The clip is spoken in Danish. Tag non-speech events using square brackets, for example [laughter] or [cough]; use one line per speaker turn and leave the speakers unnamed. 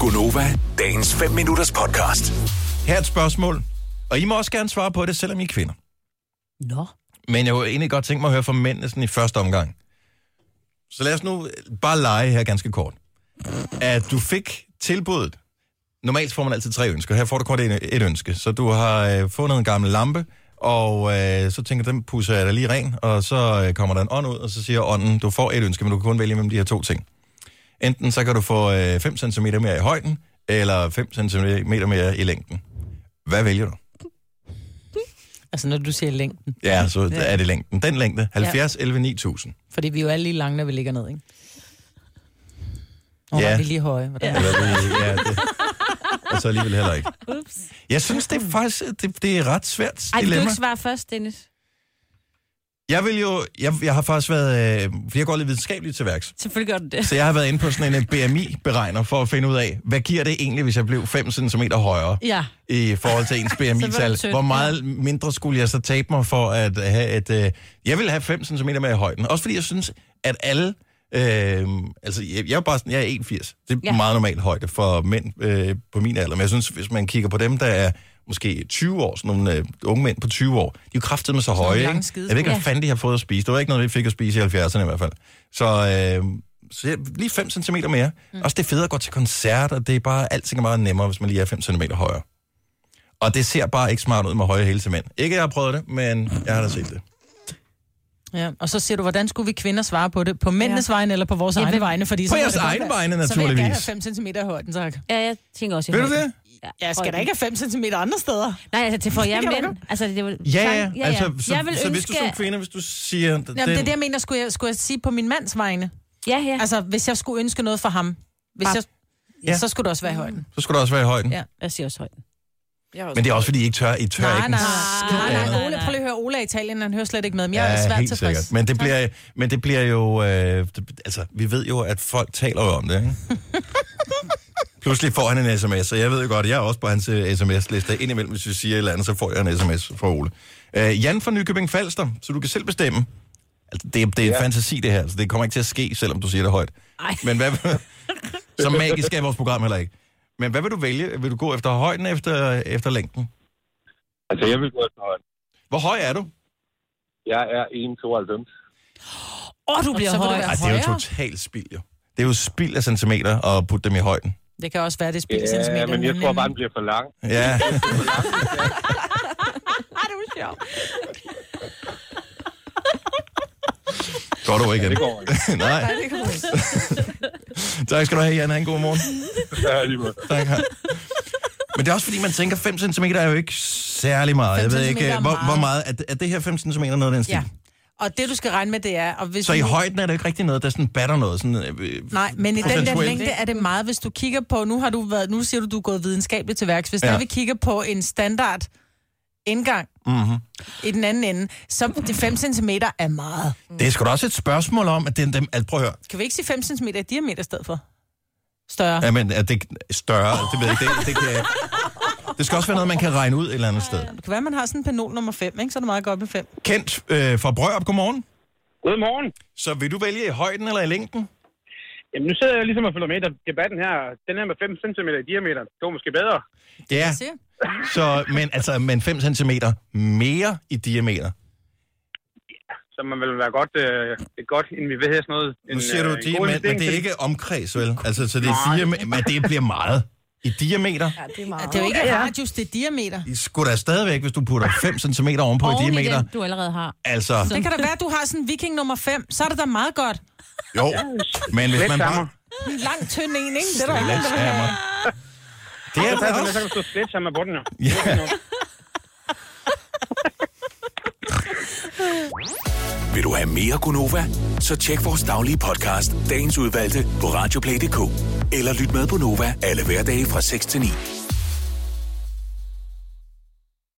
Gunova, dagens 5 minutters podcast.
Her er et spørgsmål, og I må også gerne svare på det, selvom I er kvinder.
Nå.
Men jeg kunne egentlig godt tænke mig at høre fra mændene sådan i første omgang. Så lad os nu bare lege her ganske kort. At du fik tilbuddet. Normalt får man altid tre ønsker. Her får du kun et, et ønske. Så du har øh, fundet en gammel lampe, og øh, så tænker du, den pusser jeg da lige ren, og så øh, kommer der en ånd ud, og så siger ånden, du får et ønske, men du kan kun vælge mellem de her to ting. Enten så kan du få øh, 5 cm mere i højden, eller 5 cm mere i længden. Hvad vælger du?
Altså, når du siger længden.
Ja, så er det længden. Den længde, 70, 11, 9000.
Fordi vi er jo alle lige lange, når vi ligger ned, ikke? Nå,
Ja.
ja. vi er lige høje. Hvordan? Ja.
Eller, det- ja, det. Og så alligevel heller ikke. Ups. Jeg synes, det er faktisk det, det er et ret svært
Ej, vil du
dilemma.
ikke svare først, Dennis?
Jeg vil jo, jeg, jeg har faktisk været, øh, fordi jeg går lidt videnskabeligt til værks,
Selvfølgelig gør du
[laughs]
det.
så jeg har været inde på sådan en øh, BMI-beregner for at finde ud af, hvad giver det egentlig, hvis jeg blev 5 cm højere
Ja.
i forhold til ens
du
BMI-tal?
tynd,
Hvor meget mindre skulle jeg så tabe mig for at have et... Øh, jeg vil have 5 cm mere i højden. Også fordi jeg synes, at alle... Øh, altså, jeg, jeg er jo bare sådan, jeg er 81. Det er ja.
Ja.
meget normal højde for mænd øh, på min alder. Men jeg synes, hvis man kigger på dem, der er måske 20 år, sådan nogle øh, unge mænd på 20 år, de er jo kraftet med så høje,
lange
ikke?
skide-
Jeg ved ikke, hvad
Ja.
fanden de har fået at spise. Det var ikke noget, vi fik at spise i 70'erne i hvert fald. Så, øh, så jeg, lige 5 cm mere. Mm. Også det er fedt at gå til koncert, og det er bare, alting er meget nemmere, hvis man lige er 5 cm højere. Og det ser bare ikke smart ud med høje hæle til mænd. Ikke, at jeg har prøvet det, men jeg har da set det.
ja. Og så siger du, hvordan skulle vi kvinder svare på det? På mændenes ja. vegne eller på vores
Ja,
egne
men-
vegne? Fordi så
På
må
jeres
det godt
egne
være-
vegne,
Så vil jeg gerne
naturligvis.
have 5 cm i højden, tak.
Ja, jeg tænker også... i
Ved du
højden.
det?
Ja,
Jeg skal da
højden.
ikke have 5 cm andre steder.
Nej, altså til for jer
kan man
mænd. Altså, det var...
Ja, ja. Altså,
ja.
så,
jeg vil
så, hvis
ønske...
du som kvinde, hvis du siger... Jamen,
Jamen, det er det, jeg mener, skulle jeg, skulle jeg sige på min mands vegne.
Ja, ja.
Altså, hvis jeg skulle ønske noget for ham. Hvis
Bare-
jeg,
Ja.
ja. Så skulle det også være i højden.
Så skulle du også være i højden.
Ja.
Jeg siger også højden.
Men det er også, fordi I ikke tør. I tør
Nej,
ikke
nej,
en skid
nej, nej,
andet.
nej. Ole, prøv lige at høre Ole i Italien, han hører slet ikke med. Men jeg er svært
helt
tilfreds.
sikkert. Men det bliver, men det bliver jo... Øh, det, altså, vi ved jo, at folk taler jo om det,
[laughs]
ikke? Pludselig får han en sms, og jeg ved jo godt, jeg er også på hans øh, sms-liste. Indimellem, hvis vi siger et eller andet, så får jeg en sms fra Ole. Øh, Jan fra Nykøbing Falster, så du kan selv bestemme. Altså, det, det er ja. fantasi, det her, så det kommer ikke til at ske, selvom du siger det højt.
Ej.
Men hvad... så magisk er vores program heller ikke. Men hvad vil du vælge? Vil du gå efter højden efter, efter længden?
Altså, jeg vil gå efter højden.
Hvor høj er du?
Jeg er 1,92.
Åh, du
Og
bliver
så vil du
høj.
være
Ej,
Ej,
det er jo totalt spild, jo. Det er jo spild af centimeter at putte dem i højden.
Det kan også være, det er spild centimeter.
Ja, men jeg tror bare, den bliver for lang.
[laughs]
[laughs]
Ja,
Ej, det er sjovt.
går du ikke.
Det går ikke.
[laughs] Nej.
[laughs]
tak skal du have, Jan. Ha' en god morgen.
Ja, lige måde.
Tak, hej. Men det er også fordi, man tænker, 5 cm er jo ikke særlig meget. Jeg
5
ved ikke,
centimeter er
hvor, hvor meget.
meget.
Er, det- er det her 5 cm noget af den stil?
Ja. Og det, du skal regne med, det er... Og hvis
Så i
du...
højden er det jo ikke rigtig noget, der sådan batter noget. Sådan, øh,
Nej, men i den der
procentuelt.
længde er det meget. Hvis du kigger på... Nu, har du været, nu siger du, du er gået videnskabeligt til værks. Hvis
Ja.
ja. vi kigger på en standard indgang mm-hmm. i den anden ende, så det 5 cm er meget.
Det er sgu da også et spørgsmål om, at det er dem... At, prøv at høre.
Kan vi ikke sige 5 cm i diameter i stedet for? Større. Ja.
Ja, men er det større? Det ved jeg ikke. Det, det, kan jeg... ikke. det skal også være noget, man kan regne ud et eller andet sted.
Det kan være, man har sådan en penol nummer 5, ikke? Så er det meget godt med 5.
Kent øh, fra Brørup, godmorgen.
Godmorgen.
Så vil du vælge i højden eller i længden?
Jamen, nu sidder jeg ligesom og følger med i debatten her. Den her med 5 cm i diameter, det var måske bedre.
Ja,
siger.
så, men, altså, men 5 cm mere i diameter.
Så man vil være godt, øh, et godt end vi ved her sådan noget.
Nu siger du,
øh,
de, men, men
god investering
det er
til-
ikke omkreds, vel? Altså, så det er fire, me- men det bliver meget. I diameter?
Det er jo ikke radius, det er diameter.
I skulle da stadigvæk, hvis du putter 5 cm ovenpå i
Oven i
diameter.
den, du allerede har.
Altså,
Det kan da være, at du har sådan en viking nummer 5. Så er det da meget godt.
jo. Men hvis man
Sledgehammer.
bare...
En lang, tynd en, ikke? Det er der
[laughs]
ikke.
Sledgehammer. Det er
Så kan
da
man- Så
også...
kan du stå slet sammen på den jo.
Ja.
Vil du have mere Gunova? Så tjek vores daglige podcast, dagens udvalgte, på radioplay.dk. Eller lyt med på Nova alle hverdage fra 6 til 9.